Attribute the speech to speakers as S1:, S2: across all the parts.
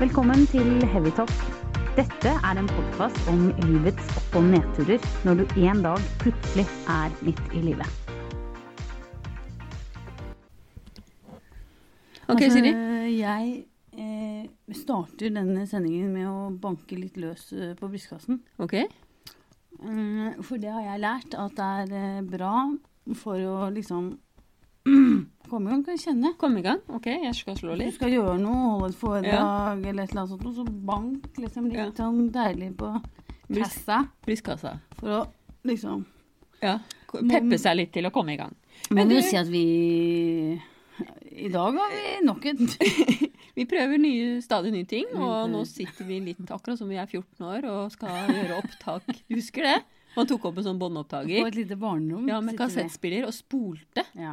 S1: Velkommen til Heavytalk. Dette er en podkast om livets opp- og nedturer når du en dag plutselig er midt i livet.
S2: Ok, Siri.
S3: Altså, jeg eh, starter denne sendingen med å banke litt løs eh, på brystkassen.
S2: Ok.
S3: Eh, for det har jeg lært at det er eh, bra for å liksom komme i gang, kan kjenne.
S2: Kom i gang. Ok, jeg skal slå
S3: Du
S2: litt.
S3: skal gjøre noe, holde et foredrag eller et eller annet sånt, og så bank liksom litt
S2: Ja.
S3: sånn deilig på
S2: Bryst,
S3: kassa
S2: brystkassa.
S3: for å liksom
S2: Ja. Ko- Peppe seg litt til å komme i gang. Men
S3: Men du
S2: du-
S3: si at vi i dag har vi nok et
S2: Vi prøver nye, stadig nye ting, og nå sitter vi litt akkurat som vi er 14 år og skal gjøre opptak. Du husker det? Man tok opp en sånn
S3: På
S2: båndopptaker
S3: et lite barnerom.
S2: ja,
S3: sitter
S2: med
S3: vi.
S2: kassettspiller og spolte.
S3: Ja.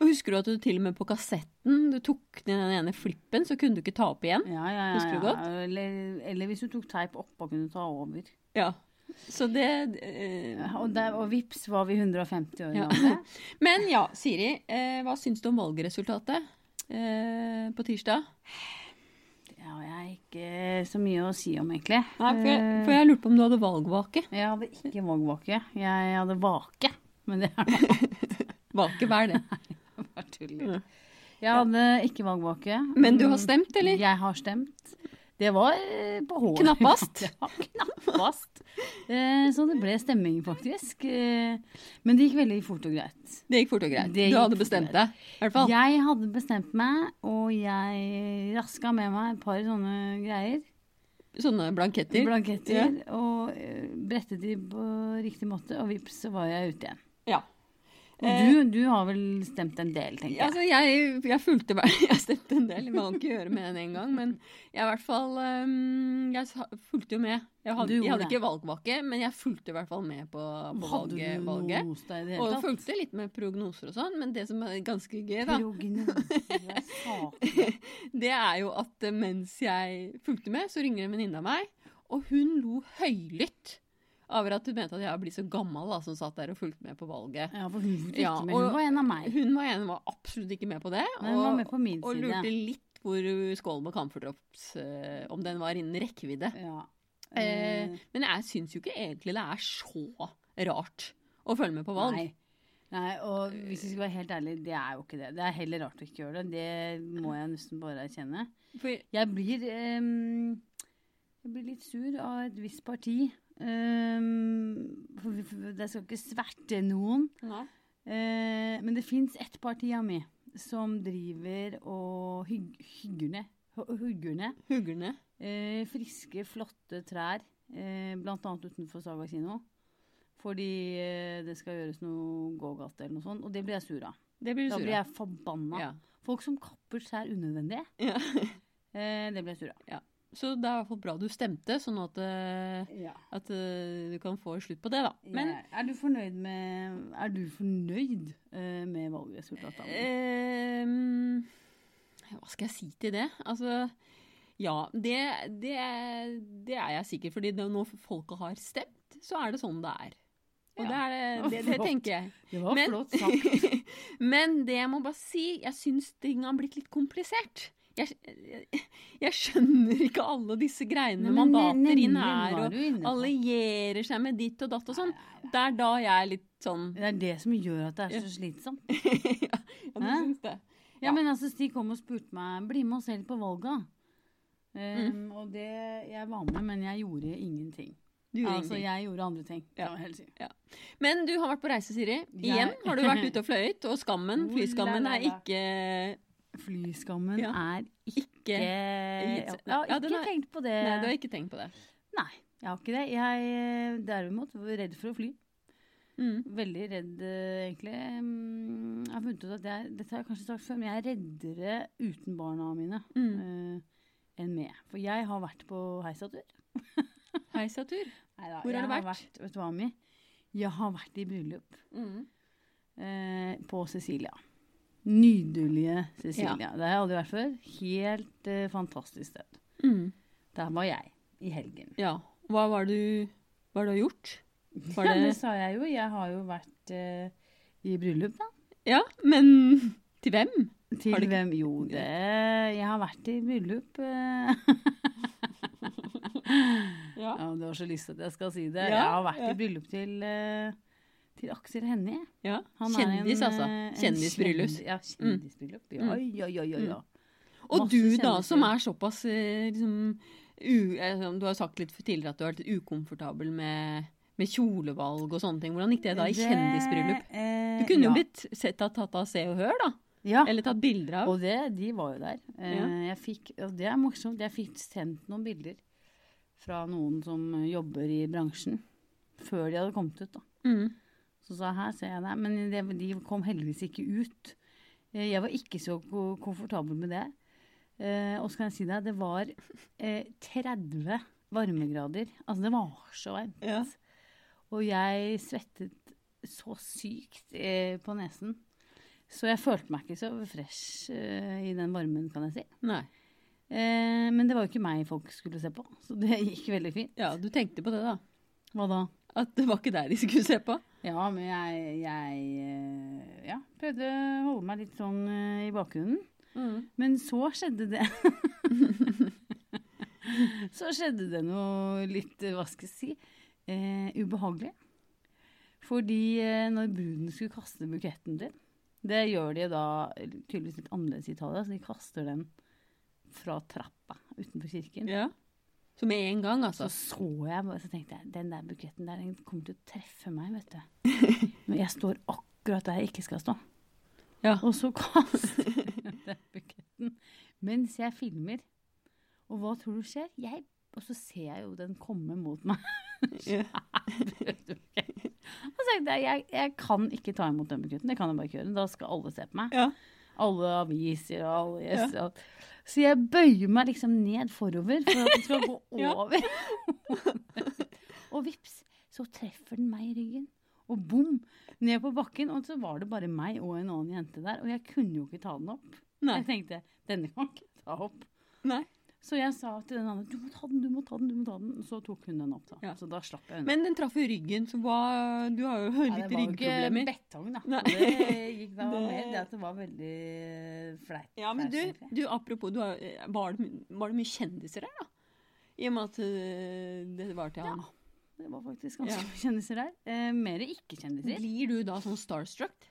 S2: Og husker du at du til og med på kassetten du tok ned den ene flippen, så kunne du ikke ta opp igjen?
S3: Ja, ja, ja,
S2: Husker du
S3: ja.
S2: godt?
S3: Eller, eller hvis du tok teip opp og kunne ta over.
S2: Ja. Så det eh,
S3: Og, der, og vips var vi 150 år
S2: Ja.
S3: gamle.
S2: Men ja, Siri, eh, hva syns du om valgresultatet eh, på tirsdag?
S3: Det har jeg ikke så mye å si om, egentlig.
S2: Nei, for jeg,
S3: Eh,
S2: for jeg lurte på om du hadde valgvake.
S3: jeg hadde ikke valgvake. Jeg hadde vake, men det er noe
S2: Valke, hva er det?
S3: bare tull. Jeg hadde ikke valgvake.
S2: Men du har stemt, eller?
S3: Jeg har stemt. Det var eh, på håret.
S2: Knappast.
S3: Ja, knappast. Eh, Så det ble stemming, faktisk. Eh, Men det gikk veldig fort og greit.
S2: Det gikk fort og greit.
S3: Det
S2: Du
S3: gikk
S2: hadde
S3: fort og
S2: bestemt
S3: greit.
S2: deg. I hvert fall.
S3: Jeg hadde bestemt meg, og jeg raska med meg et par sånne greier.
S2: Sånne blanketter.
S3: Blanketter.
S2: Ja.
S3: Og eh, brettet de på riktig måte, og vips, så var jeg ute igjen.
S2: Ja. Eh,
S3: Og du, du har vel stemt en del, tenker jeg.
S2: Altså, jeg, jeg fulgte hver Jeg stemte en del. Man kan ikke gjøre med den en gang, men jeg i hvert fall øhm, Jeg sa- fulgte jo med. Jeg hadde,
S3: Du gjorde
S2: jeg hadde
S3: det.
S2: ikke valgvake, men jeg fulgte i hvert fall med på, på
S3: Hadde du
S2: altså, valget.
S3: noe
S2: valget.
S3: hos deg i det
S2: Og
S3: hele tatt?
S2: fulgte litt med prognoser og sånn, men det som er ganske gøy, da,
S3: Prognoser, saker.
S2: det er jo at eh, mens jeg fulgte med, så ringer en venninne av meg, og hun lo høylytt over at hun mente at jeg blir så gammel da, som satt der og fulgte med på valget.
S3: Ja, for hun fikk
S2: Ja,
S3: ikke med. Hun
S2: og-
S3: var en av meg.
S2: Hun var, en, var absolutt ikke med på det,
S3: Men hun var med
S2: og,
S3: på min
S2: og
S3: side.
S2: lurte litt hvor uh, skålen med camferdrops eh, om den var innen rekkevidde.
S3: Ja.
S2: Eh, men jeg syns jo ikke egentlig det er så rart å følge med på valg.
S3: Nei. Nei, og hvis vi skal være helt ærlige, det er jo ikke det. Det er heller rart å ikke gjøre det. Det må jeg nesten bare erkjenne.
S2: For,
S3: Jeg blir, ehm, jeg blir litt sur av et visst parti. Ehm, for, for, for, jeg skal ikke sverte noen. Eh, men det fins ett parti av meg som driver og hyg, hygger ned. hu- Hugger ned
S2: Huggerne.
S3: eh, friske, flotte trær, eh, blant annet utenfor Saga kino. Fordi eh, det skal gjøres noe gågate eller noe sånt. Og det blir jeg sur av.
S2: Det blir du
S3: Da
S2: sur
S3: blir
S2: av.
S3: jeg forbanna.
S2: Ja.
S3: Folk som kapper skjær unødvendig,
S2: Ja.
S3: eh, det blir jeg sur av.
S2: Så det er i hvert fall bra du stemte, sånn at eh, At eh, du kan få slutt på det, da. Men
S3: Jeg- er du fornøyd med, er du fornøyd, eh, med valgresultatet? Anne?
S2: Eh, ehm, Hva skal jeg si til det? Altså Ja, det, det, det er jeg sikker Fordi det, når folket har stemt, så er det sånn det er. Og det,
S3: Ja.
S2: er, det, det
S3: Flott.
S2: tenker jeg.
S3: Det var
S2: men-
S3: flott sagt.
S2: Men det jeg må bare si, jeg syns ting har blitt litt komplisert. Jeg, jeg, jeg skjønner ikke alle disse greiene
S3: Men
S2: med
S3: nemlig
S2: mandater inn her,
S3: var
S2: og
S3: du inne på.
S2: allierer seg med ditt og datt og sånn. Det er da jeg er litt sånn
S3: Det er det som gjør at det er så slitsomt.
S2: Ja, du
S3: Hæ?
S2: syns det? Ja.
S3: Ja, men altså, Stig kom og spurte meg bli med oss selv på valga. Um,
S2: Mm.
S3: Og det, jeg var med, men jeg gjorde ingenting.
S2: Du gjør
S3: altså,
S2: ingenting.
S3: jeg gjorde andre ting.
S2: Ja.
S3: Det var helt sikkert.
S2: Men du har vært på reise, Siri.
S3: Jeg-
S2: Igjen har du vært ute og fløyet. Og skammen,
S3: Oh,
S2: flyskammen,
S3: la, la,
S2: er
S3: la.
S2: ikke,
S3: Flyskammen
S2: Ja.
S3: er ikke
S2: ikke Nei,
S3: Jeg
S2: Ja,
S3: har
S2: den
S3: ikke
S2: er-
S3: tenkt på det.
S2: du har ikke tenkt på det.
S3: Nei, jeg har ikke det. Jeg eh, derimot var redd for å fly.
S2: Mm.
S3: Veldig redd, eh, egentlig. Mm, Jeg har funnet ut at jeg, dette har jeg kanskje sagt før, men jeg er reddere uten barna mine
S2: Mm.
S3: eh, enn med. For jeg har vært på heisatur.
S2: Heisatur.
S3: Neida,
S2: Hvor har
S3: jeg
S2: du vært?
S3: Vet du hva, Mi? Jeg har vært i bryllup
S2: Mm.
S3: eh, på Cecilia. Nydelige Cecilia. Det har jeg aldri vært før. Helt eh, fantastisk sted.
S2: Mm.
S3: Der var jeg i helgen.
S2: Ja. Hva var du Hva har du gjort? Var
S3: Ja, det
S2: det
S3: sa jeg jo. Jeg har jo vært eh, i bryllup, da.
S2: Ja, men til hvem?
S3: Til
S2: Har du ikke-
S3: hvem? Jo, det Jeg har vært i bryllup. eh.
S2: Ja.
S3: ja, du har så lyst til at jeg skal si det.
S2: Ja,
S3: jeg har vært
S2: ja.
S3: i bryllup til, eh, til Aksel Hennie.
S2: Ja.
S3: Han er
S2: Kjendis,
S3: en,
S2: altså.
S3: eh, en
S2: Kjendisbryllup. Mm.
S3: kjendis- Ja, kjendisbryllup. Ja, ja, ja, ja, ja.
S2: Og
S3: Masse
S2: du da,
S3: kjendiser.
S2: som er såpass eh, liksom, u, eh, som Du har sagt litt tidligere at du har vært ukomfortabel med, med kjolevalg og sånne ting. Hvordan gikk det da i kjendisbryllup?
S3: Det, eh,
S2: Du kunne
S3: ja.
S2: jo blitt sett, tatt, tatt av Se og Hør, da.
S3: ja.
S2: Eller tatt bilder av.
S3: Og det, de var jo der. Eh, Jeg fikk, og det er morsomt, jeg fikk sendt noen bilder fra noen som jobber i bransjen. Før de hadde kommet ut, da.
S2: Mm.
S3: Så sa jeg, her ser jeg deg. Men det, de kom heldigvis ikke ut. Eh, Jeg var ikke så ko- komfortabel med det. Eh, og så kan jeg si deg, det var eh, 30 varmegrader. Altså, det var så varmt.
S2: Ja.
S3: Og jeg svettet så sykt eh, på nesen. Så jeg følte meg ikke så fresh eh, i den varmen, kan jeg si.
S2: Nei.
S3: Eh, men det var jo ikke meg folk skulle se på, så det gikk veldig fint.
S2: Ja, du tenkte på det, da.
S3: Hva da?
S2: At det var ikke der de skulle se på.
S3: Ja, men jeg, jeg eh, ja, prøvde å holde meg litt sånn eh, i bakgrunnen.
S2: Mm.
S3: Men så skjedde det. så skjedde det noe litt, eh, hva skal jeg si, eh, ubehagelig. Fordi eh, når bruden skulle kaste buketten sin, det gjør de da tydeligvis litt annerledes i Italia, så de kaster den fra trappa utenfor kirken.
S2: Ja. Så med en gang,
S3: Så
S2: altså.
S3: så jeg bare, så tenkte jeg, den der buketten der, den kommer til å treffe meg, vet du. Men jeg står akkurat der jeg ikke skal stå.
S2: Ja.
S3: Og så kaster jeg den buketten mens jeg filmer. Og hva tror du skjer? Jeg, og så ser jeg jo den komme mot meg.
S2: Ja.
S3: Og så tenkte jeg, jeg, jeg kan ikke ta imot den buketten, det kan jeg bare ikke gjøre. Da skal alle se på meg.
S2: Ja.
S3: Alle aviser og alle gjester. og alt. Så jeg bøyer meg liksom ned forover for at den skal gå
S2: Ja.
S3: over. og vips, så treffer den meg i ryggen. Og bom, ned på bakken. Og så var det bare meg og en annen jente der. Og jeg kunne jo ikke ta den opp.
S2: Nei.
S3: Jeg tenkte, denne kan jeg ikke ta opp.
S2: Nei.
S3: Så jeg sa til den andre, du må ta den, du må ta den, du må ta den. Og så tok hun den opp, da.
S2: Ja.
S3: Så da slapp jeg unna.
S2: Men den traff jo ryggen, så hva Du har jo
S3: Ja,
S2: litt ryggproblemer.
S3: betong, da.
S2: Nei.
S3: Det gikk da
S2: Det-
S3: mer det at det var veldig flaut.
S2: Ja, men
S3: flaut,
S2: du,
S3: egentlig.
S2: du apropos, du har, eh, var, det, my- var det mye kjendiser der, da? I og med at øh, det var til han.
S3: Det var faktisk ganske mye
S2: Ja.
S3: kjendiser der. Eh, mer ikke-kjendiser.
S2: Blir du da sånn starstruck?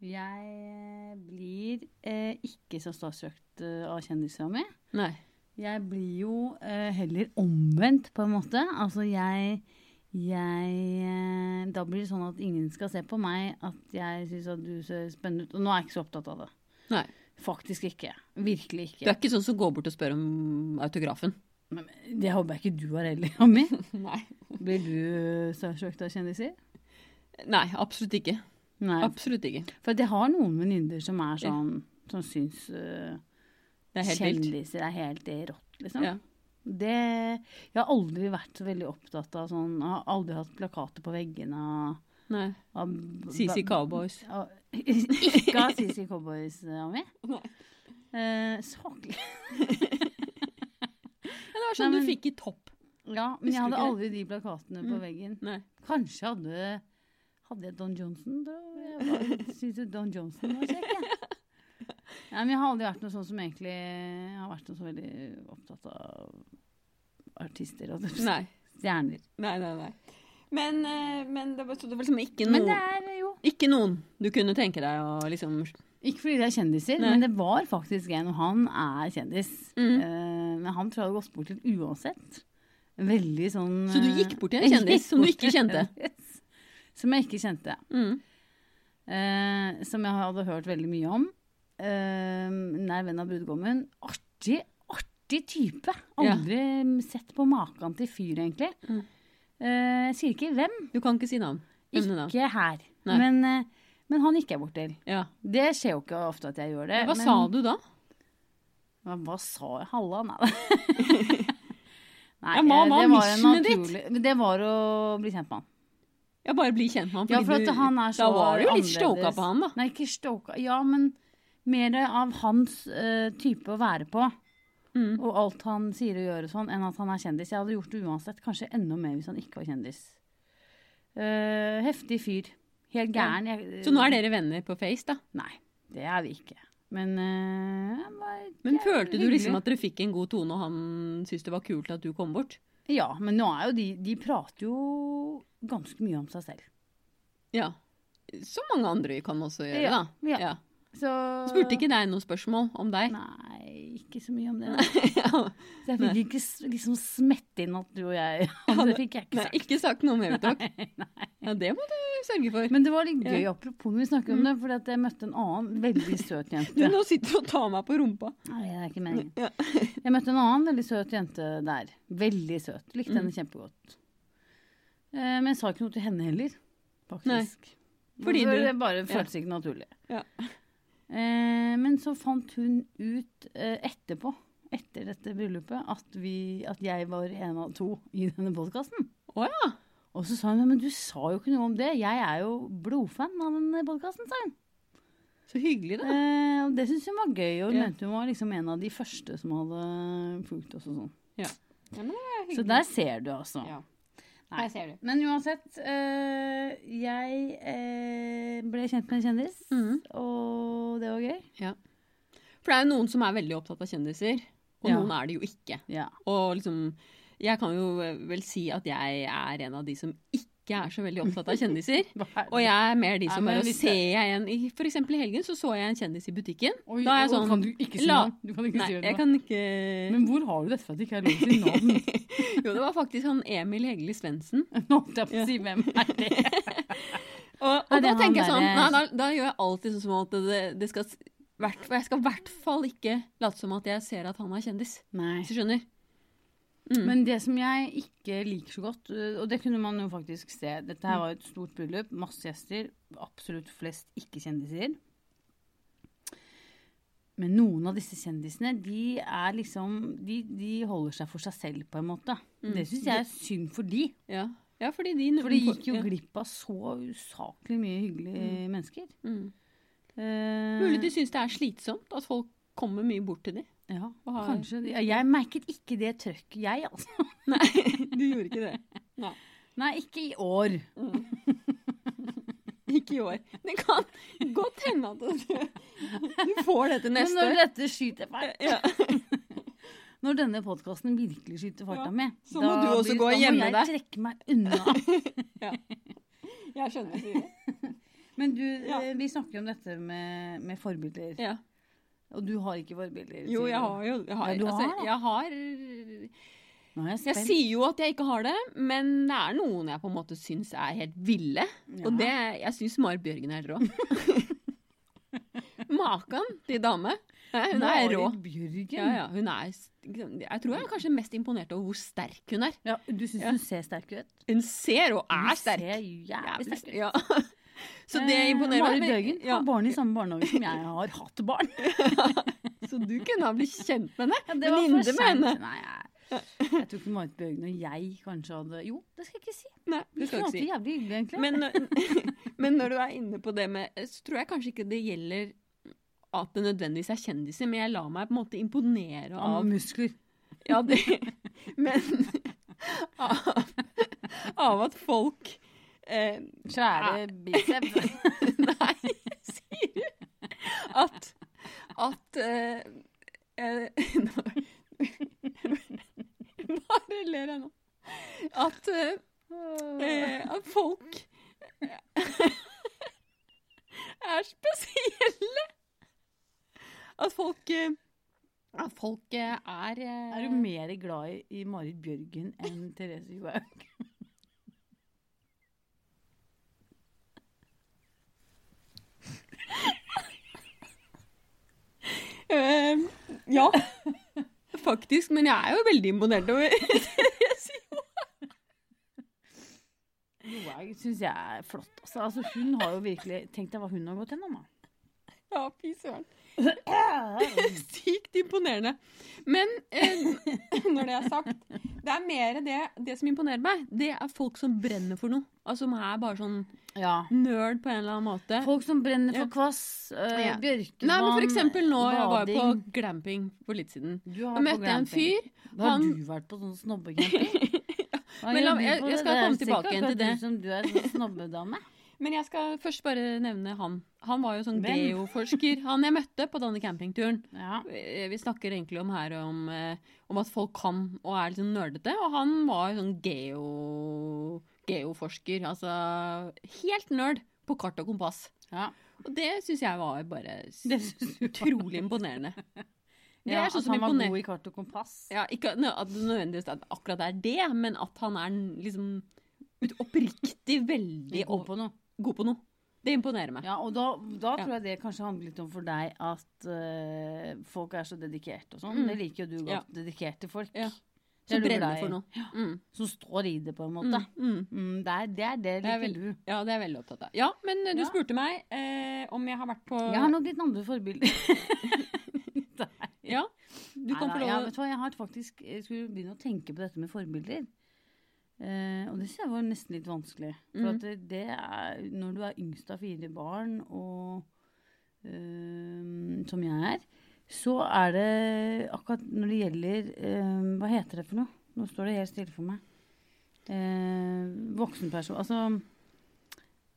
S3: Jeg blir eh, ikke så starstruck eh, av kjendisene mi.
S2: Nei.
S3: Jeg blir jo eh, heller omvendt, på en måte. Altså, jeg jeg, eh, da blir det sånn at ingen skal se på meg at jeg syns at du ser spennende ut. Og nå er jeg ikke så opptatt av det.
S2: Nei.
S3: Faktisk ikke. Virkelig ikke.
S2: Du er ikke sånn som går bort og spør om autografen?
S3: Men Det håper jeg ikke du har heller, Ami.
S2: Nei.
S3: Blir du starstruck av kjendiser?
S2: Nei, absolutt ikke.
S3: Nei.
S2: Absolutt ikke.
S3: For jeg har noen venninner som er sånn Som syns øh,
S2: Det er helt vilt.
S3: kjendiser er helt rått, liksom.
S2: Ja.
S3: Det Jeg har aldri vært så veldig opptatt av sånn Jeg har aldri hatt plakater på veggene av-
S2: Nei.
S3: av
S2: CC Cowboys.
S3: av- Ikke av CC Cowboys, Ami.
S2: Nei.
S3: Eh, Saklig.
S2: Ja, det var sånn
S3: Nei,
S2: du
S3: men-
S2: fikk i topp.
S3: Ja, men jeg
S2: Husker du
S3: hadde
S2: ikke Mm.
S3: aldri de plakatene på veggen.
S2: Nei.
S3: Kanskje hadde Hadde jeg Don Johnson, da? Jeg var- Synes jo Don Johnson var kjekk, jeg. Nei, men jeg har aldri vært noe sånn som egentlig Jeg har vært noe så veldig opptatt av artister og
S2: Nei.
S3: stjerner.
S2: Nei, nei, nei. Men, øh, men det var, så det var liksom ikke
S3: Men
S2: noen
S3: det er eh, jo
S2: Ikke noen du kunne tenke deg å liksom
S3: Ikke fordi det er kjendiser,
S2: Nei.
S3: men det var faktisk en, og han er kjendis.
S2: Mm.
S3: Eh, men han tror jeg hadde gått bort til uansett. Veldig sånn
S2: Så du
S3: eh,
S2: gikk bort til en kjendis som du
S3: gikk bort
S2: ikke
S3: til en
S2: kjente?
S3: kjendis Som jeg ikke kjente.
S2: mm.
S3: Eh, som jeg hadde hørt veldig mye om. Eh, nær venn av brudgommen. Artig, artig type. Aldri sett på maken til fyr, egentlig.
S2: Mm.
S3: Eh, jeg sier ikke hvem.
S2: Du kan ikke si navn. Emne navn.
S3: Ikke her.
S2: Nei.
S3: Men, eh, men han gikk jeg bort til.
S2: Ja.
S3: Det skjer jo ikke ofte at jeg gjør det.
S2: Hva
S3: men,
S2: sa du da?
S3: Hva, hva sa jeg? Halla? Nei. Nei,
S2: Ja, hva
S3: eh,
S2: var
S3: det en
S2: missionet ditt?
S3: naturlig- men Det var å bli kjent med han.
S2: Ja, bare bli kjent med han.
S3: Ja,
S2: fordi
S3: for at
S2: du-
S3: han er så
S2: da var du jo litt
S3: annerledes.
S2: stoka på han, da.
S3: Nei, ikke stoka. Ja, men mer av hans eh, type å være på.
S2: Mm.
S3: Og alt han sier og gjør og sånn, enn at han er kjendis. Jeg hadde gjort det uansett, kanskje enda mer hvis han ikke var kjendis. Eh, heftig fyr. Helt gæren. Jeg-
S2: Så nå er dere venner på Face, da?
S3: Nei, det er vi ikke. Men eh, han var
S2: Men
S3: jævlig
S2: følte du
S3: hyggelig.
S2: liksom at dere fikk en god tone, og han syntes det var kult at du kom bort?
S3: Ja, men nå er jo de De prater jo ganske mye om seg selv.
S2: Ja. Som mange andre kan også gjøre,
S3: Ja,
S2: da.
S3: ja. Så
S2: Spurte ikke deg noe spørsmål om deg?
S3: Nei, ikke så mye om det. nei. Så
S2: Ja.
S3: jeg fikk ikke s- liksom smette inn at du og jeg Det fikk jeg ikke
S2: Nei,
S3: sagt.
S2: ikke sagt noe om Evitock. Ja, det må du sørge for.
S3: Men det var litt gøy, apropos når vi snakker om det, fordi at jeg møtte en annen veldig søt
S2: Mm. du,
S3: jente.
S2: nå sitter du og tar meg på rumpa.
S3: Nei, det er ikke meningen. Jeg møtte en annen veldig søt jente der. Veldig søt.
S2: Mm.
S3: Likte henne kjempegodt. Eh, Men jeg sa ikke noe til henne heller, faktisk.
S2: Fordi
S3: For
S2: du-
S3: Det bare føltes ikke naturlig.
S2: Ja.
S3: Eh, Men så fant hun ut eh, etterpå, etter dette bryllupet, at, vi, at jeg var en av to i denne podkasten.
S2: Å ja.
S3: Og så sa hun men du sa jo ikke noe om det, jeg er jo blodfan av den podkasten, sa hun.
S2: Så hyggelig, da.
S3: Eh, og det syns hun var gøy, og hun
S2: Ja.
S3: mente hun var liksom en av de første som hadde fulgt oss og sånn.
S2: Ja, men det er
S3: Så der ser du, altså.
S2: Ja.
S3: Nei.
S2: ser du.
S3: Men uansett, eh, jeg eh, ble kjent med en kjendis,
S2: Mhm.
S3: og det var gøy.
S2: For det er jo noen som er veldig opptatt av kjendiser, og
S3: Ja.
S2: noen er det jo ikke.
S3: Ja.
S2: Og liksom Jeg kan jo vel si at jeg er en av de som ikke er så veldig opptatt av kjendiser. Og jeg er mer de
S3: Ja,
S2: som
S3: men
S2: bare
S3: hvis
S2: ser jeg en i- For eksempel i helgen så så jeg en kjendis i butikken. da er jeg sånn
S3: Kan du ikke si
S2: la-
S3: navn? Du kan ikke
S2: Nei,
S3: si hvem
S2: jeg
S3: det var.
S2: kan ikke
S3: Men hvor har du dette for at det ikke er lov å si navn?
S2: Jo, det var faktisk han Emil Hegeli Svendsen.
S3: Nå holdt jeg på å si hvem er det
S2: Og,
S3: Nei,
S2: og
S3: det
S2: da
S3: er han
S2: tenker jeg sånn
S3: derre-
S2: Nei, da, da gjør jeg alltid sånn som at det, det skal s- hvert, Jeg skal i hvert fall ikke late som at jeg ser at han er kjendis.
S3: Nei.
S2: Hvis du skjønner? Mm.
S3: Men det som jeg ikke liker så godt, øh, og det kunne man jo faktisk se Dette
S2: Mm.
S3: her var jo et stort bryllup, masse gjester, absolutt flest ikke-kjendiser. Men noen av disse kjendisene, de er liksom De, de holder seg for seg selv, på en måte. Det syns jeg er synd for de.
S2: Ja. ja, fordi Mm. de
S3: For de gikk jo
S2: ja.
S3: glipp av så usaklig mye hyggelige mennesker.
S2: Mm.
S3: Eh,
S2: Mulig de syns det er slitsomt at folk kommer mye bort til dem.
S3: Ja,
S2: Hva har-
S3: kanskje. Ja, jeg merket ikke det trøkket, jeg, altså.
S2: Nei, du gjorde ikke det.
S3: Nei, ikke i år.
S2: Ikke i år. Det kan godt hende at du, du får dette
S3: Men
S2: neste
S3: når
S2: år.
S3: dette skyter fælt
S2: Ja.
S3: Når denne podkasten virkelig skyter farta
S2: Ja,
S3: mi,
S2: så må du også gå og gjemme
S3: Da må
S2: deg.
S3: jeg trekke meg unna.
S2: Jeg skjønner. Siri.
S3: Men du,
S2: Ja.
S3: eh, vi snakker jo om dette med, med forbilder.
S2: Ja.
S3: Og du har ikke forbilder.
S2: Jo,
S3: sier
S2: jeg
S3: du.
S2: har jo jeg har,
S3: Ja, du har
S2: altså,
S3: det.
S2: jeg har
S3: Nå er jeg
S2: Jeg
S3: spent.
S2: sier jo at jeg ikke har det, men det er noen jeg på en måte syns er helt ville.
S3: Ja.
S2: Og det, jeg syns Marit Bjørgen er rå. Makan til dame. Nei, Hun er
S3: Marit
S2: rå.
S3: Bjørgen.
S2: Ja, ja, hun er, s- jeg tror jeg er kanskje mest imponert over hvor sterk hun er.
S3: Ja, du syns
S2: Ja.
S3: hun ser sterk ut?
S2: Hun ser og
S3: Hun
S2: er sterk.
S3: Ser jævlig sterk ut.
S2: Ja. Så det
S3: Eh,
S2: imponerer meg.
S3: Marit
S2: men-
S3: Bjørgen
S2: Ja,
S3: har barn i samme barnehage som jeg har hatt barn.
S2: så du kunne ha blitt kjent med henne.
S3: Det var for
S2: Venninne med
S3: sent.
S2: henne.
S3: Nei, jeg, jeg tror ikke Marit Bjørgen og jeg kanskje hadde Jo, det skal jeg ikke si.
S2: Nei,
S3: Vi
S2: det skal jeg ikke si.
S3: alltid jævlig hyggelig, egentlig.
S2: Men, men når du er inne på det med eh, Så tror jeg kanskje ikke det gjelder at det nødvendigvis er kjendiser, men jeg lar meg på en måte imponere
S3: Av
S2: av
S3: muskler.
S2: Ja, det Men av, av at folk eh,
S3: Svære biceps.
S2: Nei, sier du? At At eh, eh, nå- Bare ler jeg nå. At, eh, eh, at folk eh, er spesielle. At folk eh, At folk eh, er eh,
S3: Er du mer glad i, i Marit Bjørgen enn Therese Johaug?
S2: Eh, ja, faktisk. Men jeg er jo veldig imponert over Therese Johaug.
S3: Johaug syns jeg er flott. Altså. Altså, hun har jo virkelig Tenk deg hva hun har gått gjennom, da.
S2: Ja, fy søren. Sykt imponerende. Men eh, når det er sagt, det er mer det, det som imponerer meg, det er folk som brenner for noe. Altså som er bare sånn
S3: Ja.
S2: nerd på en eller annen måte.
S3: Folk som brenner for
S2: Ja.
S3: kvass, øh,
S2: Ja.
S3: bjørkevann,
S2: Nei, men for eksempel nå, jeg var jo
S3: bading.
S2: på glamping for litt siden.
S3: Du
S2: Da
S3: har
S2: møtte jeg en fyr.
S3: Da har
S2: han-
S3: du vært på sånn snobbecamping. Hva
S2: Men
S3: gjør
S2: la-
S3: du
S2: jeg-
S3: på
S2: jeg
S3: det?
S2: skal
S3: Det er
S2: komme tilbake
S3: sikkert
S2: igjen til
S3: akkurat
S2: det.
S3: Du som du er sånn snobbedame.
S2: Men jeg skal først bare nevne han. Han var jo sånn
S3: Hvem?
S2: geoforsker. Han jeg møtte på denne campingturen.
S3: Ja.
S2: Eh, Vi snakker egentlig om her om, eh, om at folk kan og er litt sånn nerdete. Og han var jo sånn geo, geoforsker. Altså helt nerd på kart og kompass.
S3: ja.
S2: Og det syns jeg var bare s-
S3: Det synes du var-
S2: utrolig imponerende. Det
S3: Ja,
S2: er sånn
S3: at
S2: som
S3: han var
S2: imponer-
S3: god i kart og kompass.
S2: Ja, ikke nø- at det nødvendigvis at akkurat det er det, men at han er n- liksom ut- oppriktig veldig
S3: god
S2: opp,
S3: på noe.
S2: god på noe. Det imponerer meg.
S3: Ja, og da, da
S2: Ja.
S3: tror jeg det kanskje handler litt om for deg at eh, folk er så dedikerte og sånn.
S2: Mm.
S3: Det liker jo du godt.
S2: Ja.
S3: Dedikerte folk.
S2: Ja.
S3: Det er
S2: Som
S3: du
S2: brenner
S3: glad i.
S2: for noe. Mm,
S3: Som står i det, på en måte.
S2: mm, mm.
S3: Mm, det, er, det er det
S2: Det er
S3: liker du.
S2: Ja, det er jeg veldig opptatt av. Ja, men eh, du
S3: Ja.
S2: spurte meg eh, om jeg har vært på
S3: Jeg har nok litt andre forbilder.
S2: Ja, du kan
S3: Neida,
S2: få lov
S3: jeg, vet du hva, jeg har faktisk jeg skulle begynne å tenke på dette med forbilder. Eh, og det synes jeg var nesten litt vanskelig. For
S2: Mhm.
S3: at det, det er, når du er yngst av fire barn, og eh, som jeg er, så er det akkurat når det gjelder eh, Hva heter det for noe? Nå står det helt stille for meg. Eh, voksenperson Altså,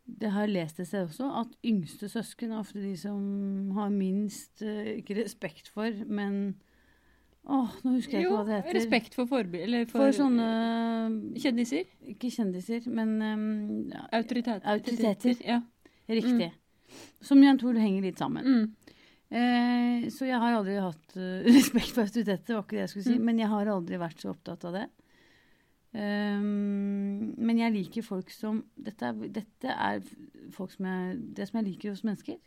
S3: det har jeg lest et sted også, at yngste søsken er ofte de som har minst eh, Ikke respekt for, men Åh, nå husker jeg ikke
S2: Jo,
S3: hva det heter.
S2: respekt for forbil... Eller for,
S3: For sånne
S2: kjendiser.
S3: Ikke kjendiser, men ehm, ja,
S2: Autoriteter.
S3: Autoriteter.
S2: Ja.
S3: riktig. Som jeg tror henger litt sammen.
S2: Mm.
S3: Eh, så jeg har aldri hatt eh, respekt for autoriteter, var ikke det jeg skulle si.
S2: Mm.
S3: Men jeg har aldri vært så opptatt av det. Ehm, men jeg liker folk som dette er, dette er folk som jeg Det som jeg liker hos mennesker,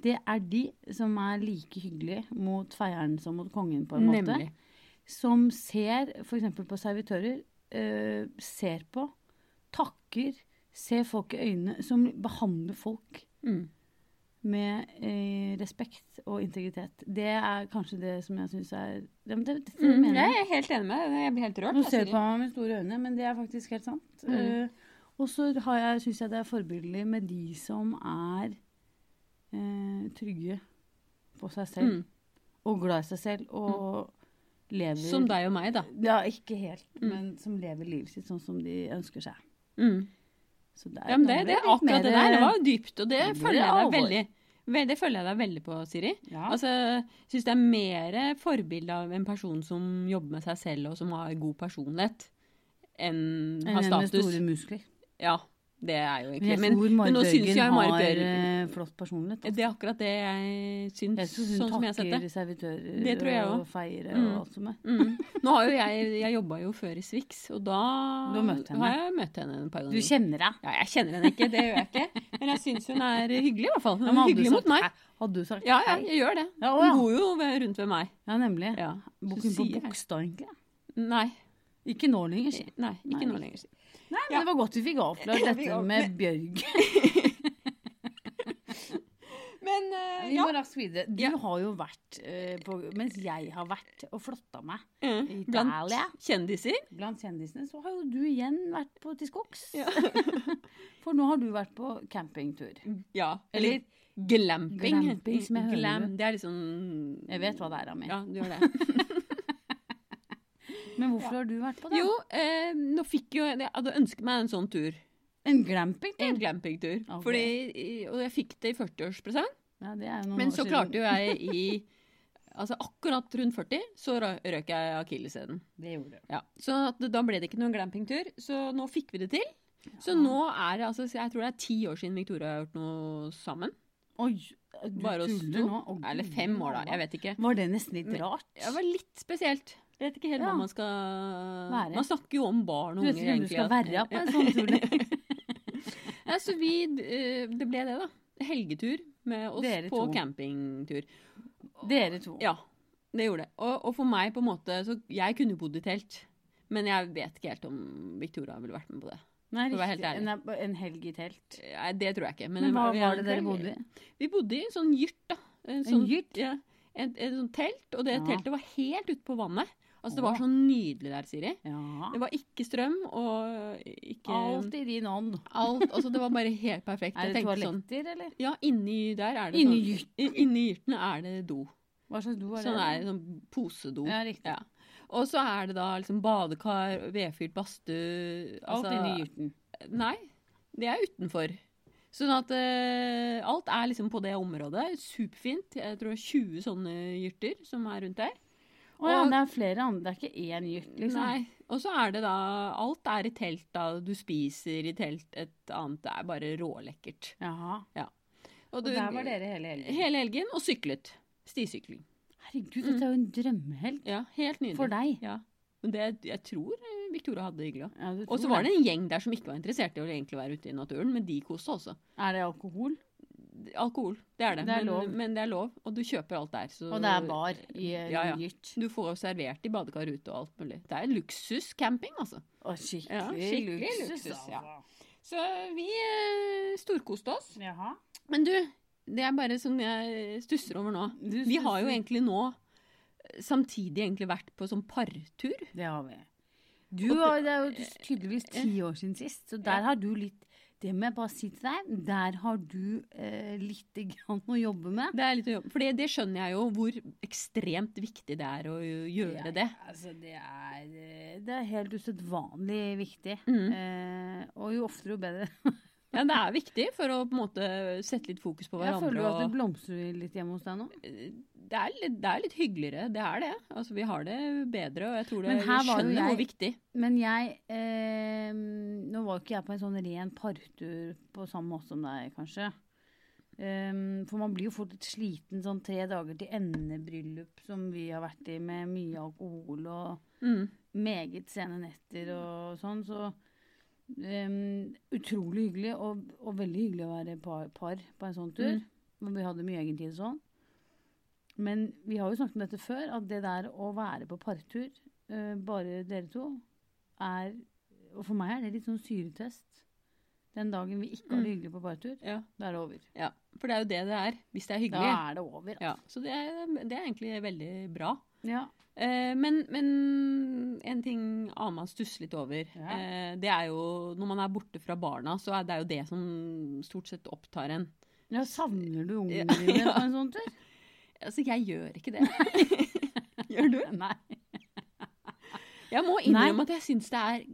S3: det er de som er like hyggelige mot feieren som mot kongen, på en måte.
S2: Nemlig.
S3: som ser f.eks. på servitører, eh, ser på, takker, ser folk i øynene, som behandler folk
S2: Mm.
S3: med eh, respekt og integritet. Det er kanskje det som jeg syns er ja, men det, det, det
S2: Mm.
S3: mener jeg.
S2: Jeg er helt enig med deg. Jeg blir helt rørt.
S3: Nå ser
S2: altså.
S3: du på meg med store øyne, men det er faktisk helt sant.
S2: Mm.
S3: Eh, og så syns jeg det er forbilledlig med de som er eh, trygge på seg selv,
S2: Mm.
S3: og glad i seg selv, og lever
S2: Som deg og meg, da.
S3: ja, ikke helt,
S2: Mm.
S3: men som lever livet sitt sånn som de ønsker seg.
S2: Mm.
S3: Så det
S2: Ja, men det,
S3: nå
S2: det
S3: ble
S2: er
S3: litt
S2: akkurat det
S3: mer-
S2: der. Det var jo dypt, og det
S3: Det ble
S2: følger jeg deg
S3: alvor.
S2: veldig vel- Det følger jeg deg veldig på, Siri.
S3: eh, ja.
S2: Altså, jeg syns det er mer forbilde av en person som jobber med seg selv, og som har god personlighet, enn
S3: En
S2: har
S3: med
S2: status.
S3: store muskler.
S2: Ja, det er jo
S3: Men
S2: egentlig
S3: jeg
S2: Men,
S3: tror
S2: men nå
S3: Marit
S2: syns jeg
S3: Bjørgen
S2: Marit
S3: har
S2: Bjørgen
S3: eh, flott personlighet. altså.
S2: Det er akkurat det jeg
S3: Jeg
S2: syns,
S3: tror hun
S2: sånn som jeg har sett
S3: takker
S2: det.
S3: servitører
S2: Det tror jeg
S3: og
S2: også.
S3: feirer
S2: Mm.
S3: og alt som er.
S2: Mm. Nå har jo jeg Jeg jobba jo før i Swix, og da
S3: Du har møtt henne.
S2: har jeg møtt henne en par
S3: Du
S2: ganger.
S3: kjenner deg.
S2: ja, jeg kjenner henne ikke, det gjør jeg ikke. Men jeg syns hun er hyggelig, i hvert fall.
S3: Ja, men
S2: Hun er
S3: hadde du
S2: hyggelig
S3: sagt
S2: mot meg.
S3: hei- Hadde du sagt
S2: Ja, ja,
S3: hei?
S2: jeg gjør det.
S3: Ja, å,
S2: Hun
S3: ja.
S2: bor jo ved- rundt ved meg.
S3: Ja, nemlig.
S2: Ja.
S3: Bor
S2: så
S3: hun på
S2: sier jeg.
S3: Bogstad, egentlig?
S2: Nei,
S3: Ikke nå lenger. si.
S2: nei, ikke
S3: Nei,
S2: nå
S3: ikke.
S2: lenger.
S3: Nei, men
S2: Ja.
S3: det var godt vi fikk avklart
S2: Vi
S3: dette
S2: går-
S3: med Bjørg.
S2: Men
S3: Vi går raskt videre. Du
S2: Ja.
S3: har jo vært eh, på Mens jeg har vært og flotta meg
S2: eh, Blant
S3: Italia.
S2: kjendiser.
S3: blant kjendisene, så har jo du igjen vært på til skogs.
S2: Ja.
S3: For nå har du vært på campingtur.
S2: Ja.
S3: Eller
S2: Eller glamping.
S3: glamping, som jeg hører.
S2: Glam, det er liksom
S3: Jeg vet hva det er, Ami.
S2: Ja, du gjør det.
S3: Men hvorfor har du vært på det?
S2: Jo, eh, nå fikk jo Jeg hadde ønsket meg en sånn tur.
S3: En glampingtur!
S2: En glampingtur.
S3: Ok.
S2: Fordi, og jeg fikk det i 40-årspresang.
S3: Ja, det er jo noen
S2: Men
S3: år
S2: så
S3: siden.
S2: klarte jo jeg i Altså akkurat rundt 40, så rø- røk jeg akilleshælen.
S3: Det gjorde du.
S2: Ja, så at det- da ble det ikke noen glampingtur, så nå fikk vi det til. Så nå er det altså, jeg tror det er ti år siden Victoria har gjort noe sammen.
S3: Oi, du
S2: Bare oss
S3: tuller
S2: to.
S3: nå. Å,
S2: Eller
S3: Gud,
S2: fem år, da. Jeg vet ikke.
S3: Var det nesten litt
S2: Men-
S3: rart?
S2: Det var litt spesielt. Jeg vet ikke helt
S3: Ja.
S2: hva man skal
S3: Være.
S2: Man snakker jo om barn
S3: Du
S2: og
S3: vet
S2: unger,
S3: ikke hvem du
S2: egentlig.
S3: skal
S2: at-
S3: være på en sånn tur.
S2: Ja, så vi eh, Det ble det, da. Helgetur med oss
S3: Dere
S2: på
S3: to.
S2: campingtur.
S3: Dere to.
S2: Ja, det gjorde det. Og, og for meg, på en måte Så jeg kunne bodd i telt. Men jeg vet ikke helt om Victoria ville vært med på det.
S3: Nei,
S2: for å være
S3: riktig.
S2: helt
S3: En, en helg i telt.
S2: Nei, det tror jeg ikke.
S3: Men hva
S2: vi-
S3: var det dere
S2: vi-
S3: bodde i?
S2: Vi bodde i en sånn gyrt, da. En, sånn-
S3: gyrt?
S2: Ja, et, et sånt telt. Og det
S3: Ja.
S2: teltet var helt ute på vannet. Altså, det
S3: Åh.
S2: var så nydelig der, Siri.
S3: Ja.
S2: Det var ikke strøm og ikke
S3: Alt i din ånd.
S2: alt. Altså, det var bare helt perfekt.
S3: Er
S2: Jeg
S3: det
S2: tenkte sånn,
S3: toaletter, eller?
S2: ja, inni der er det
S3: Inni
S2: sånn i- Inni gyrtene er det do.
S3: Hva slags do er det?
S2: Sånn er det, sånn posedo.
S3: Ja, riktig.
S2: Ja. Og så er det da liksom badekar, vedfylt badstue
S3: Alt
S2: altså-
S3: inni gyrten.
S2: Nei, det er utenfor. Sånn at eh, alt er liksom på det området. Superfint. Jeg tror det er 20 sånne hyrter som er rundt der.
S3: Å ja,
S2: Og-
S3: det er flere andre. Det er ikke én gyrt, liksom.
S2: Nei. Og så er det da Alt er i telt, da. Du spiser i telt, et annet Det er bare rålekkert.
S3: Jaha.
S2: Og,
S3: Og
S2: du-
S3: der var dere hele helgen.
S2: Hele helgen, og syklet. Stisykling.
S3: Herregud, dette er jo en drømmehelg
S2: Ja, helt nydelig.
S3: for deg.
S2: Ja. Men det, jeg tror eh, Victoria hadde det hyggelig òg.
S3: Ja, du
S2: Og så
S3: tror
S2: var det en gjeng der som ikke var interessert i å egentlig være ute i naturen, men de koste også.
S3: Er det alkohol?
S2: Alkohol, det er det.
S3: Det er
S2: men,
S3: lov.
S2: men det er lov, og du kjøper alt der. Så
S3: Og det er bar i eh,
S2: Ja, ja.
S3: gyrt.
S2: Du får jo servert i badekar ute og alt mulig. Det er luksuscamping, altså.
S3: Å, skikkelig, altså.
S2: Ja, skikkelig luksus, ja. Så vi eh, storkoste oss.
S3: Jaha.
S2: Men du, det er bare som jeg stusser over nå.
S3: Du
S2: Vi har jo
S3: stusser.
S2: egentlig nå eh, samtidig egentlig vært på sånn partur.
S3: Det har vi. Du har, det er jo tydeligvis ti år siden sist, så der har du litt Det må jeg bare si til deg, der har du eh, lite grann å jobbe med.
S2: Det er litt å jobbe. For det- det skjønner jeg jo hvor ekstremt viktig det er å gjøre det.
S3: Altså, det er, eh, det er helt usedvanlig viktig.
S2: Mm.
S3: Eh, og jo oftere, jo bedre.
S2: Ja, det er viktig for å på en måte sette litt fokus på
S3: Jeg føler
S2: hverandre.
S3: jo at det
S2: og
S3: blomstrer litt hjemme hos deg nå.
S2: det, er litt, det er litt hyggeligere, det er det. Altså, vi har det bedre, og jeg tror det,
S3: Men
S2: vi
S3: her var jo
S2: skjønner
S3: jeg-
S2: hvor viktig.
S3: Men jeg eh, Nå var jo ikke jeg på en sånn ren partur på samme måte som deg, kanskje. Ehm, for man blir jo fort litt sliten sånn tre dager til endebryllup som vi har vært i, med mye alkohol og
S2: Mm.
S3: meget sene netter og sånn. Så ehm, utrolig hyggelig, og, og veldig hyggelig å være par, par på en sånn tur.
S2: Mm.
S3: Men vi hadde mye egentid og sånn. Men vi har jo snakket om dette før, at det der å være på partur, eh, bare dere to, er Og for meg er det litt sånn syretest. Den dagen vi ikke har
S2: Mm.
S3: det hyggelig på partur,
S2: Ja,
S3: da er det over.
S2: ja. For det er jo det det er, hvis det er
S3: Da
S2: hyggelig.
S3: er det over. altså.
S2: Ja, så det er, det er egentlig veldig bra.
S3: Ja.
S2: Eh, men, men en ting annet man stusser litt over,
S3: Ja.
S2: eh, det er jo når man er borte fra barna, så er det jo det som stort sett opptar en.
S3: ja, savner du
S2: Ja,
S3: ungene dine
S2: ja.
S3: på en sånn tur?
S2: Altså, jeg gjør ikke det. gjør du?
S3: Nei.
S2: Jeg må
S3: Nei.
S2: innrømme at jeg syns det er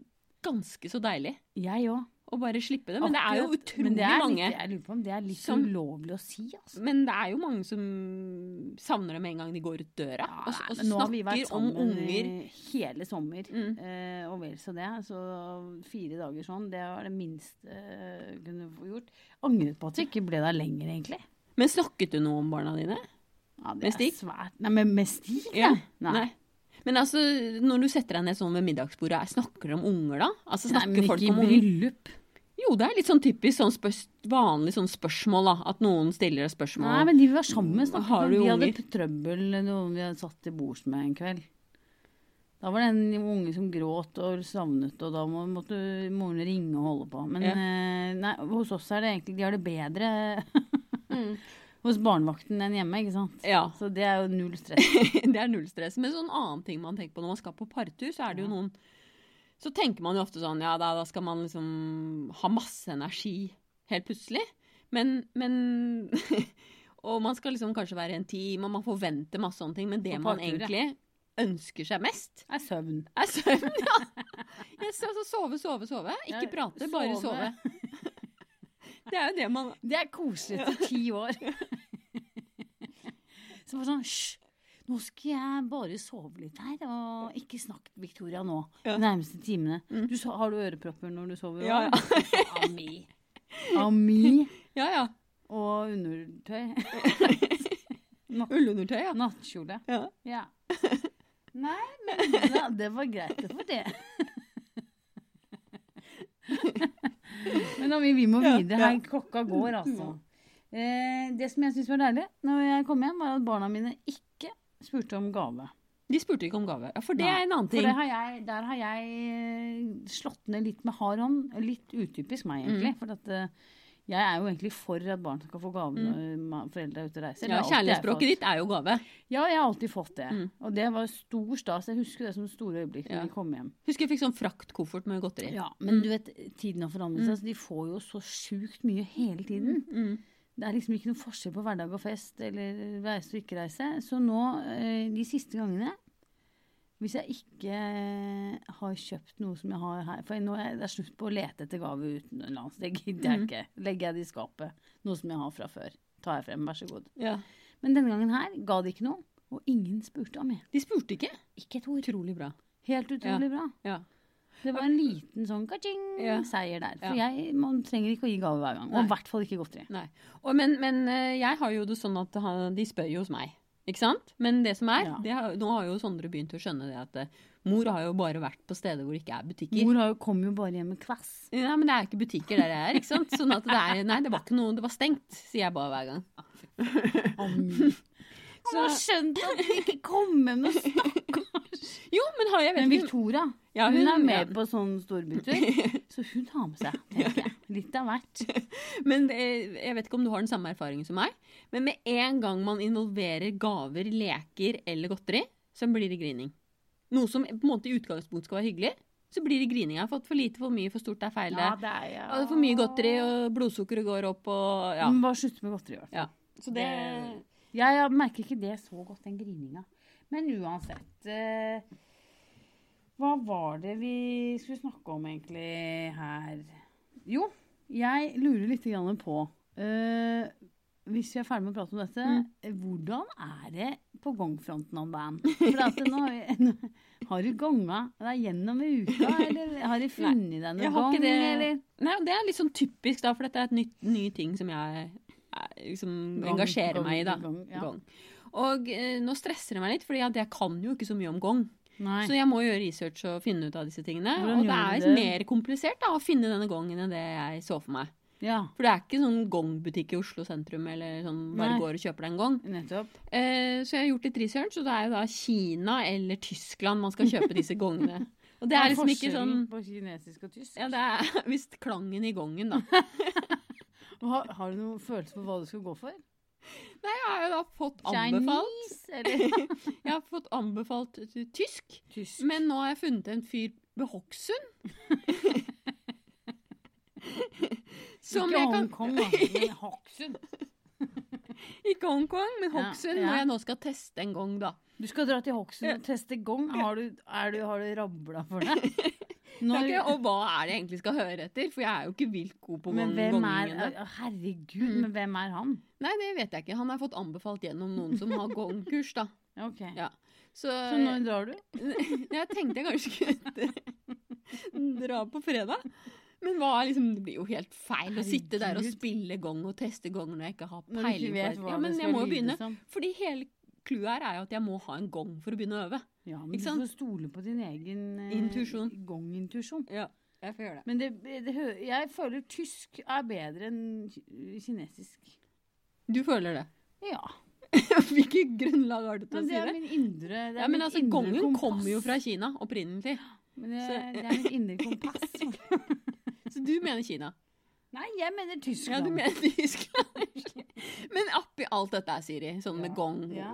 S2: ganske så deilig
S3: Jeg òg.
S2: å bare slippe det. Men det er jo
S3: Akkurat.
S2: utrolig
S3: Men det er
S2: mange.
S3: Litt, jeg lurer på om det er litt
S2: som-
S3: ulovlig å si, altså.
S2: Men det er jo mange som savner det med en gang de går ut døra. og s- og
S3: Nei, men altså, nå har vi vært
S2: altså, snakker om
S3: sammen
S2: unger.
S3: i hele sommer,
S2: Mm.
S3: eh, og vel så det. Så fire dager sånn, det var det minste eh, kunne få gjort. Angret på at vi ikke ble der lenger, egentlig.
S2: Men snakket du noe om barna dine?
S3: Ja, det
S2: Med
S3: er
S2: stig?
S3: svært. Nei, men med stig? Ja. Nei.
S2: Men altså, når du setter deg ned sånn ved middagsbordet, er- snakker du om unger da? Altså,
S3: Nei,
S2: snakker
S3: men
S2: folk
S3: ikke i
S2: om unger?
S3: bryllup.
S2: Jo, det er litt sånn typisk sånn spørs, vanlig sånn spørsmål, da. At noen stiller et spørsmål.
S3: Nei, men de vi var sammen med, snakket
S2: Har
S3: om
S2: du
S3: de hadde
S2: unger?
S3: p- trøbbel noen vi hadde satt til bords med en kveld. Da var det en unge som gråt og savnet, og da må, måtte moren ringe og holde på. Men
S2: Ja.
S3: eh, nei, hos oss er det egentlig De har det bedre
S2: Mm.
S3: hos barnevakten enn hjemme, ikke sant?
S2: Ja.
S3: Så det er jo null stress.
S2: det er null stress. Men sånn annen ting man tenker på når man skal på partur, så er det jo noen Så tenker man jo ofte sånn ja, da, da skal man liksom ha masse energi helt plutselig. Men, men Og man skal liksom kanskje være en time, og man forventer masse sånne ting, men det
S3: På
S2: man
S3: partur, ja.
S2: egentlig ønsker seg mest,
S3: Det er søvn.
S2: er søvn. Ja. Jeg skal altså sove, sove, sove.
S3: Ja,
S2: Ikke prate, bare
S3: sove.
S2: sove. Det er jo det man
S3: Det er koselig etter ti år. Så bare sånn Hysj, nå skal jeg bare sove litt her, og ikke snakk til Victoria nå.
S2: Ja.
S3: De nærmeste timene.
S2: Mm.
S3: Du, så- har du ørepropper når du sover?
S2: Ja,
S3: ja. Ami. Ami
S2: Ja ja.
S3: og undertøy.
S2: Ullundertøy, ja.
S3: Nattkjole.
S2: ja.
S3: Ja. Nei, men da, det var greit det for det. men Ami, vi må
S2: Ja,
S3: videre
S2: ja.
S3: her. Klokka går, altså. Eh, det som jeg syntes var deilig når jeg kom hjem, var at barna mine ikke spurte om gave.
S2: De spurte ikke om gave. Ja, for det
S3: Nei,
S2: er en annen
S3: For
S2: ting.
S3: det har jeg, der har jeg eh, slått ned litt med hard hånd. Litt utypisk meg, egentlig.
S2: Mm.
S3: For at, eh, jeg er jo egentlig for at barn skal få gave når ma- foreldre er ute og reiser.
S2: Mm. Ja, kjærlighetsspråket ditt er jo gave.
S3: Ja, jeg har alltid fått det.
S2: Mm.
S3: Og det var stor stas. Jeg husker det som store øyeblikk når
S2: Ja. Mm.
S3: jeg kom hjem.
S2: Husker jeg fikk sånn fraktkoffert med godteri.
S3: Ja, Men du vet, tiden har forandret seg, så de får jo så sjukt mye hele tiden.
S2: Mm.
S3: Det er liksom ikke noen forskjell på hverdag og fest eller reise og ikke reise. Så nå, eh, de siste gangene, Hvis jeg ikke eh, har kjøpt noe som jeg har her For nå er det slutt på å lete etter gave utenlands. Det gidder jeg
S2: Mm.
S3: ikke. Legger jeg det i skapet. Noe som jeg har fra før. Tar jeg frem, vær så god.
S2: Ja.
S3: Men denne gangen her ga det ikke noe. Og ingen spurte om mer.
S2: De spurte ikke.
S3: Ikke et ord.
S2: Utrolig bra.
S3: Helt utrolig bra.
S2: Ja.
S3: Det var en liten sånn ka-ching
S2: Ja.
S3: seier der. For
S2: Ja.
S3: jeg, man trenger ikke å gi gave hver gang. Og
S2: Nei.
S3: i hvert fall ikke godteri.
S2: Nei. Og, men, men eh, jeg har jo det sånn at han, de spør jo hos meg. Ikke sant? Men det som er,
S3: Ja.
S2: det har, nå har jo Sondre begynt å skjønne det at eh, mor har jo bare vært på steder hvor det ikke er butikker.
S3: Mor har jo- kom jo bare hjem med kvass.
S2: Nei, men det er ikke butikker der jeg er, ikke sant? Sånn at det er, nei, det var ikke noe, det var stengt, sier jeg bare hver gang.
S3: Han har
S2: Så,
S3: skjønt at vi ikke kommer med noe
S2: jo, men har jeg vet
S3: Men
S2: ikke-
S3: Victoria
S2: Ja,
S3: hun, er
S2: ja.
S3: med på sånn storbytur, så hun har med seg tenker jeg. litt av hvert.
S2: Men det, jeg vet ikke om du har den samme erfaringen som meg, men med en gang man involverer gaver, leker eller godteri, så blir det grining. Noe som på en måte i utgangspunktet skal være hyggelig, så blir det grining. Jeg har fått for lite, for mye, for stort, det er feil. det.
S3: det er
S2: Ja, det er for mye godteri, og blodsukkeret går opp, og ja.
S3: Hun bare slutter med godteri. i hvert fall.
S2: ja. Så Mm. det
S3: Jeg, jeg merker ikke det så godt, den grininga. Men uansett eh, Hva var det vi skulle snakke om egentlig her? Jo, jeg lurer litt grann på eh, Hvis vi er ferdig med å prate om dette,
S2: Mm.
S3: hvordan er det på gangfronten av band? For at nå har, vi, har du gonga deg gjennom i uka, eller har du funnet deg
S2: jeg
S3: noen
S2: har
S3: gang?
S2: ikke det
S3: Eller?
S2: Nei, og det er litt sånn typisk, da, for dette er et nytt, ny ting som jeg eh, liksom
S3: Gong,
S2: engasjerer
S3: gong,
S2: meg i, da.
S3: gong, ja.
S2: Gong. Og eh, nå stresser det meg litt, for jeg kan jo ikke så mye om gong.
S3: Nei.
S2: Så jeg må gjøre research og finne ut av disse tingene.
S3: Hvordan
S2: og det
S3: gjør
S2: er
S3: du det?
S2: mer komplisert da, å finne denne gongen enn det jeg så for meg.
S3: Ja,
S2: For det er ikke sånn gongbutikk i Oslo sentrum eller sånn bare
S3: Nei.
S2: går og kjøper deg en gong.
S3: nettopp.
S2: Eh, så jeg har gjort litt research, og det er jo da Kina eller Tyskland man skal kjøpe disse gongene. Og det er liksom ikke
S3: forskjellen
S2: sånn
S3: på kinesisk og tysk?
S2: ja, det er visst klangen i gongen, da.
S3: Har, har du noen følelse for hva du skal gå for?
S2: Nei, jeg har jo da fått anbefalt,
S3: Chinese, eller
S2: jeg har fått anbefalt eh, tysk,
S3: tysk?
S2: men nå har jeg funnet en fyr ved Hokksund. Som
S3: ikke
S2: jeg kan-
S3: Hongkong, da, men Hokksund.
S2: Ikke Hongkong, men
S3: Ja,
S2: Hokksund,
S3: ja.
S2: når jeg nå skal teste en gang, da.
S3: Du skal dra til Hokksund og teste gong. Har du, er du, har du rabla for deg? Når,
S2: Ok, og hva er det jeg egentlig skal høre etter? For jeg er jo ikke vilt god på
S3: men
S2: gong-
S3: hvem er
S2: gongingen. da.
S3: å, Herregud,
S2: Mm.
S3: men hvem er han?
S2: Nei, det vet jeg ikke. Han er fått anbefalt gjennom noen som har gongkurs, da.
S3: Ok.
S2: Ja. Så, eh,
S3: Så når drar du?
S2: jeg tenkte jeg kanskje skulle dra på fredag. Men hva er liksom, det blir jo helt feil å sitte der og
S3: Herregud.
S2: spille gong og teste gong når jeg ikke har
S3: Når du ikke
S2: peiling på
S3: vet
S2: det.
S3: hva
S2: Ja, men
S3: det
S2: jeg må
S3: skal
S2: jo begynne.
S3: lyde som?
S2: Fordi hele clouet her er jo at jeg må ha en gong for å begynne å øve.
S3: Ja, men
S2: Ikke
S3: du
S2: sant?
S3: får stole på din egen eh,
S2: Intuisjon.
S3: gongintuisjon.
S2: Ja, jeg får gjøre det.
S3: Men det, det, hø- jeg føler tysk er bedre enn ki- kinesisk.
S2: Du føler det?
S3: Ja.
S2: Hvilket grunnlag har du til å
S3: Men
S2: si
S3: det
S2: det?
S3: er min indre det er
S2: Ja, men
S3: mitt
S2: altså,
S3: indre
S2: Gongen
S3: kompass.
S2: kommer jo fra Kina opprinnelig.
S3: Men det,
S2: Så-
S3: det er mitt indre kompass.
S2: Så du mener Kina?
S3: Nei, jeg mener
S2: Ja,
S3: Tyskland.
S2: du mener Tyskland. Men oppi alt dette her, Siri, sånn med
S3: Ja,
S2: gong,
S3: ja.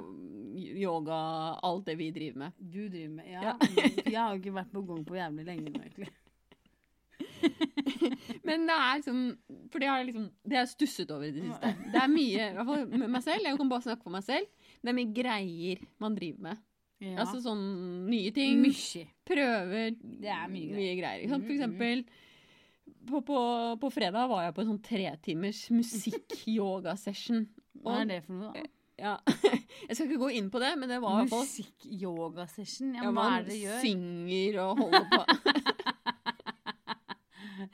S2: yoga, alt det vi driver med
S3: Du driver med Ja.
S2: Ja.
S3: jeg har jo ikke vært på gang på jævlig lenge nå, egentlig.
S2: Men det er liksom For det har jeg liksom Det har jeg stusset over i det siste.
S3: Mm.
S2: Det er mye, i hvert fall med meg selv, jeg kan bare snakke for meg selv, det er mye greier man driver med.
S3: Ja.
S2: Altså sånn nye ting.
S3: Mye.
S2: prøver
S3: er mye greier.
S2: greier. ikke sant? For
S3: Mm,
S2: eksempel på, på, på fredag var jeg på en sånn tretimers musikk-yoga-session.
S3: Hva er det for noe, da?
S2: Ja. Jeg skal ikke gå inn på det, men det var i hvert fall
S3: Musikk-yoga-session? Ja, hva
S2: ja,
S3: er
S2: Man
S3: det du gjør?
S2: synger og holder på. Men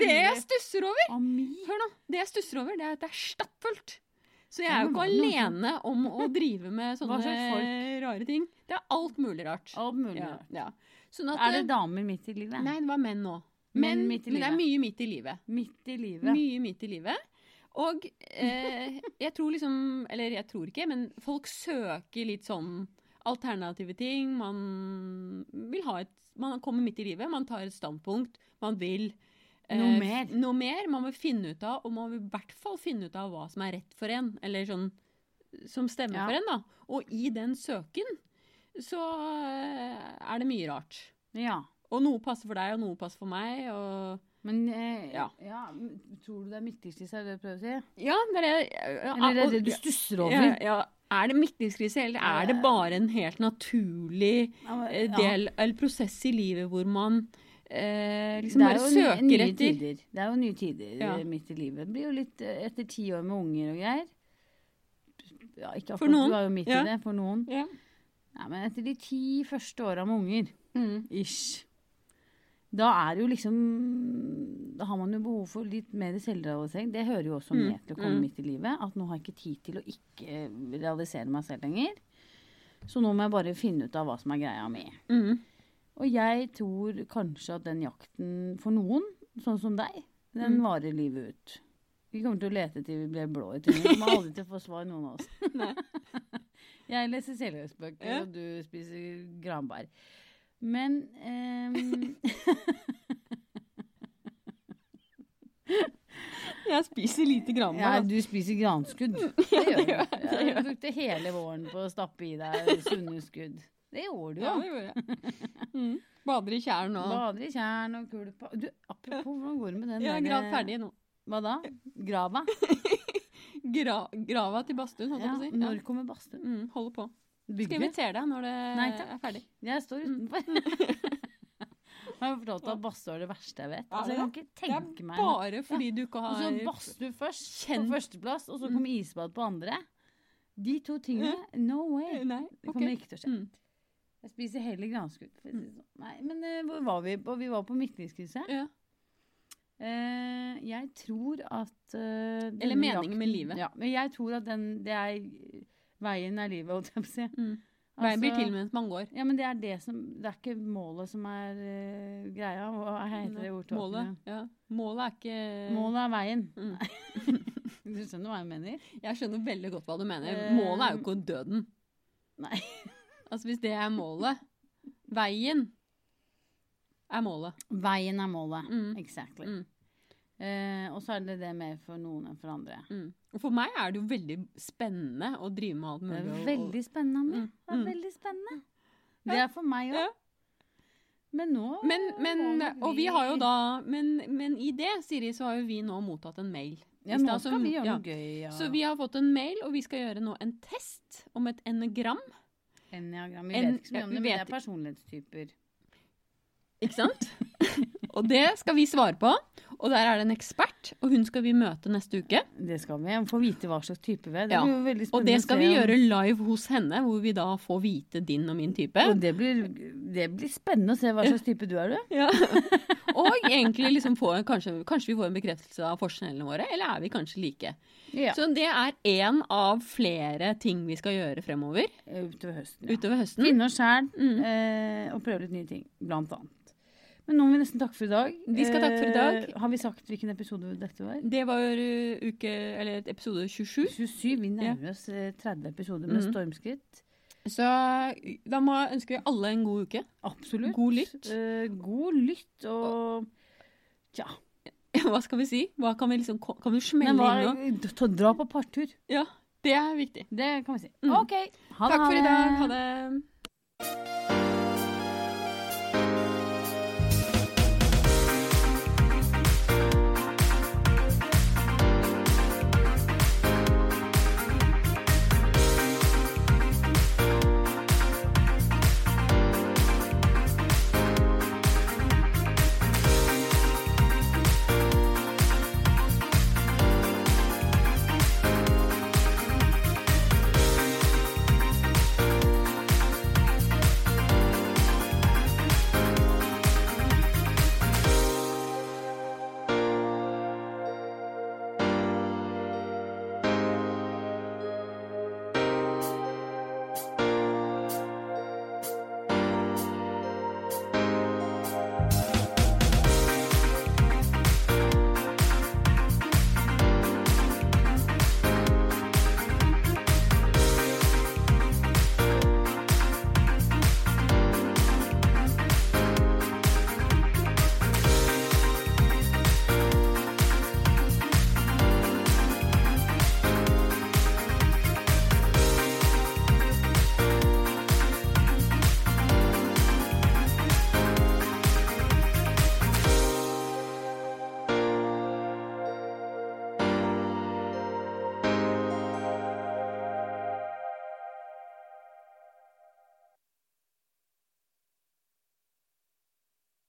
S2: det jeg stusser over,
S3: Ami.
S2: hør nå, det jeg stusser over, det er at det er stappfullt. Så jeg
S3: Ja,
S2: er jo
S3: men
S2: ikke
S3: var det noen
S2: alene om å drive med sånne
S3: slags
S2: rare ting. Det er alt mulig rart.
S3: Alt mulig
S2: Ja,
S3: rart.
S2: ja. Sånn at,
S3: Er det damer midt i livet?
S2: Nei, det var menn nå.
S3: Menn
S2: Men,
S3: midt i
S2: men det er
S3: livet.
S2: mye midt i livet.
S3: Midt i livet.
S2: Mye midt i livet. Og eh, jeg tror liksom Eller jeg tror ikke, men folk søker litt sånn alternative ting. Man vil ha et Man kommer midt i livet, man tar et standpunkt. Man vil eh,
S3: Noe mer.
S2: noe mer. Man vil finne ut av, og man vil i hvert fall finne ut av hva som er rett for en. Eller sånn som stemmer
S3: Ja.
S2: for en, da. Og i den søken så eh, er det mye rart.
S3: Ja.
S2: Og noe passer for deg, og noe passer for meg. og...
S3: Men eh, ja.
S2: Ja.
S3: men Tror du det er midtstilt i seg, er det du prøver å si?
S2: Ja, det er det jeg- ja,
S3: Eller er
S2: og-
S3: det det du stusser over?
S2: Ja, ja, Er det midtlivskrise, eller er det bare en helt naturlig
S3: Ja, men-
S2: eh,
S3: ja.
S2: del eller prosess i livet hvor man eh,
S3: Det
S2: liksom
S3: er
S2: bare
S3: jo nye-
S2: søker
S3: nye
S2: etter
S3: tider. Det er jo nye tider
S2: Ja.
S3: eh, midt i livet. Det blir jo litt eh, etter ti år med unger og greier. Ja, ikke
S2: For
S3: akkurat,
S2: noen.
S3: Du er jo midt
S2: Ja.
S3: i det for noen.
S2: Ja.
S3: Nei, men etter de ti første åra med unger, ish, da er det jo liksom Da har man jo behov for litt mer selvrealisering. Det hører jo også
S2: Mm,
S3: med til å komme
S2: mm.
S3: midt i livet. At nå har jeg ikke tid til å ikke eh, realisere meg selv lenger. Så nå må jeg bare finne ut av hva som er greia mi.
S2: Mm.
S3: Og jeg tror kanskje at den jakten for noen, sånn som deg, den
S2: Mm.
S3: varer livet ut. Vi kommer til å lete til vi blir blå i trynet. Vi kommer aldri til å få svar, noen av oss.
S2: Nei.
S3: jeg leser selvhjelpsbøker,
S2: Ja.
S3: og du spiser granbær. Men ehm,
S2: Jeg spiser lite
S3: ja,
S2: granbær.
S3: du spiser granskudd. Det gjør du. Ja, Du brukte hele våren på å stappe i deg sunne skudd. Det gjorde du
S2: Ja,
S3: jo.
S2: det gjorde jeg. Mm. Bader i tjern og
S3: Bader i tjern og kulpa. Du, apropos, hvordan går det med den
S2: Jeg er
S3: der- eh,
S2: grad ferdig nå.
S3: Hva da? Grava?
S2: Gra grava til badstuen, holdt
S3: Ja,
S2: jeg på å si.
S3: når
S2: Ja.
S3: kommer badstuen?
S2: Mm, holder på. Skal jeg Mm.
S3: Bygget?
S2: invitere deg når det
S3: Nei,
S2: er ferdig.
S3: Jeg står utenfor. Har jeg fortalt at badstue er det verste jeg vet?
S2: Er
S3: Altså, jeg kan ikke
S2: Det
S3: tenke
S2: er
S3: meg noe.
S2: bare fordi du ikke
S3: Og så
S2: har Mm.
S3: badstue først,
S2: Kjenn-
S3: på førsteplass, og så kom isbad på andre. De to tingene, no way.
S2: Nei,
S3: Det
S2: ok.
S3: kommer ikke til å skje.
S2: Mm.
S3: Jeg spiser heller granskudd. for å si det sånn. Nei, men eh, hvor var vi? på? Vi var på midtlivskrise.
S2: Ja.
S3: Eh, jeg tror at eh, denne
S2: Eller meningen
S3: jakten-
S2: med livet.
S3: Ja, men jeg tror at den, det er veien er livet, holdt jeg på å si.
S2: Mm. Veien blir
S3: Altså-
S2: til mens man går.
S3: Ja, men det er det som Det er ikke målet som er eh, greia. Hva heter det ordtaket?
S2: Målet, ja. Målet er ikke
S3: Målet er veien.
S2: Mm.
S3: Du skjønner hva jeg mener?
S2: Jeg skjønner veldig godt hva du mener.
S3: Eh,
S2: Målet er jo ikke døden.
S3: Nei.
S2: Altså hvis det er målet Veien er målet.
S3: Veien er målet.
S2: Mm.
S3: Exactly.
S2: Mm.
S3: Eh, og så er det det mer for noen enn for andre.
S2: Mm. Og for meg er det jo veldig spennende å drive med alt
S3: Det
S2: mulig.
S3: er
S2: og-
S3: veldig spennende.
S2: Mm.
S3: Det er
S2: Mm.
S3: veldig spennende.
S2: Ja.
S3: Det er for meg òg.
S2: Ja.
S3: Men nå
S2: og, men, men,
S3: må nok
S2: og vi har jo da Men, men i det, Siri, så har jo vi nå mottatt en mail.
S3: Ja,
S2: I
S3: nå
S2: stad
S3: skal
S2: som-
S3: vi gjøre
S2: ja.
S3: noe gøy. Ja.
S2: Så vi har fått en mail, og vi skal gjøre nå en test om et enegram.
S3: Enneagram. Vi
S2: En-
S3: vet ikke så mye
S2: ja,
S3: om
S2: vi
S3: det, men det
S2: vet-
S3: er personlighetstyper.
S2: Ikke sant? og det skal vi svare på. Og der er det en ekspert, og hun skal vi møte neste uke.
S3: Det skal vi. Vi får vite hva slags type vi er. Det
S2: Ja.
S3: blir jo veldig
S2: Og
S3: spennende
S2: det
S3: å
S2: skal
S3: se
S2: vi
S3: om-
S2: gjøre live hos henne, hvor vi da får vite din og min type.
S3: Og det blir, det blir spennende å se hva slags type du er, du.
S2: Ja. og egentlig liksom få en, kanskje, kanskje vi får en bekreftelse av forskjellene våre, eller er vi kanskje like?
S3: Ja.
S2: Så det er én av flere ting vi skal gjøre fremover
S3: eh, Utover høsten. Ja.
S2: utover høsten.
S3: Finne oss sjæl
S2: Mm.
S3: eh, og prøve litt nye ting, blant annet. Men nå må vi nesten takke for i dag.
S2: Vi skal takke for i dag.
S3: Eh, har vi sagt hvilken episode dette var?
S2: Det var uh, uke, eller episode 27.
S3: 27. Vi nærmer oss eh, 30 episoder med
S2: Mhm.
S3: stormskritt.
S2: Så eh, da må jeg ønske alle en god uke.
S3: Absolutt.
S2: God lytt.
S3: Eh, god lytt og Tja.
S2: Hva skal vi si? Hva kan vi liksom Kan vi smelle
S3: Men hva,
S2: inn nå?
S3: ta- dra på partur.
S2: Ja, det er viktig.
S3: Det kan vi si.
S2: Mm.
S3: OK. Ha det,
S2: Takk for i
S3: det.
S2: dag. Ha det.